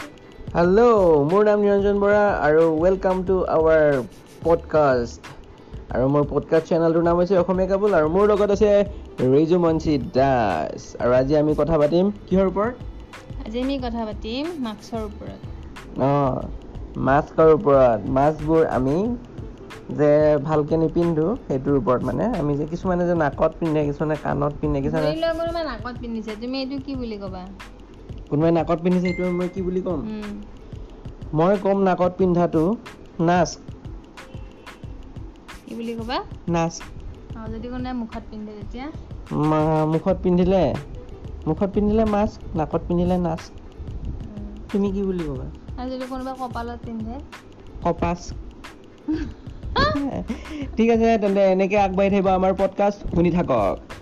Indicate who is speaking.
Speaker 1: hello' মোৰ নাম নিৰঞ্জন বৰা আৰু ৱেলকাম টু আৱাৰ পডকাষ্ট আৰু মোৰ পডকাষ্ট চেনেলটোৰ নাম হৈছে অসমীয়া কাবুল আৰু মোৰ লগত আছে ৰিজুমঞ্চী দাস আৰু আজি আমি কথা পাতিম কিহৰ ওপৰত
Speaker 2: আজি আমি কথা পাতিম মাস্কৰ ওপৰত
Speaker 1: অঁ মাস্কৰ ওপৰত মাস্কবোৰ আমি যে ভালকৈ নিপিন্ধো সেইটোৰ ওপৰত মানে আমি যে কিছুমানে যে নাকত পিন্ধে কিছুমানে কাণত পিন্ধে কিছুমানে
Speaker 2: ধৰি লোৱা কোনোবা নাকত পিন্ধিছে তুমি এইটো কি বুলি ক'বা
Speaker 1: কোনোবাই নাকত পিন্ধিছে সেইটো মই কি বুলি ক'ম
Speaker 2: উম,
Speaker 1: মই ক'ম নাকত পিন্ধাটো নাচ
Speaker 2: কি বুলি ক'বা
Speaker 1: নাচ
Speaker 2: আৰু যদি কোনোবাই মুখত পিন্ধে তেতিয়া
Speaker 1: মা- মুখত পিন্ধিলে মুখত পিন্ধিলে মাস্ক নাকত পিন্ধিলে নাচ
Speaker 2: উম,
Speaker 1: তুমি কি বুলি ক'বা
Speaker 2: আৰু যদি কোনোবাই কপালত পিন্ধে
Speaker 1: কপাচ ঠিক আছে তেন্তে এনেকৈ আগবাঢ়ি থাকিব আমাৰ পডকাষ্ট শুনি থাকক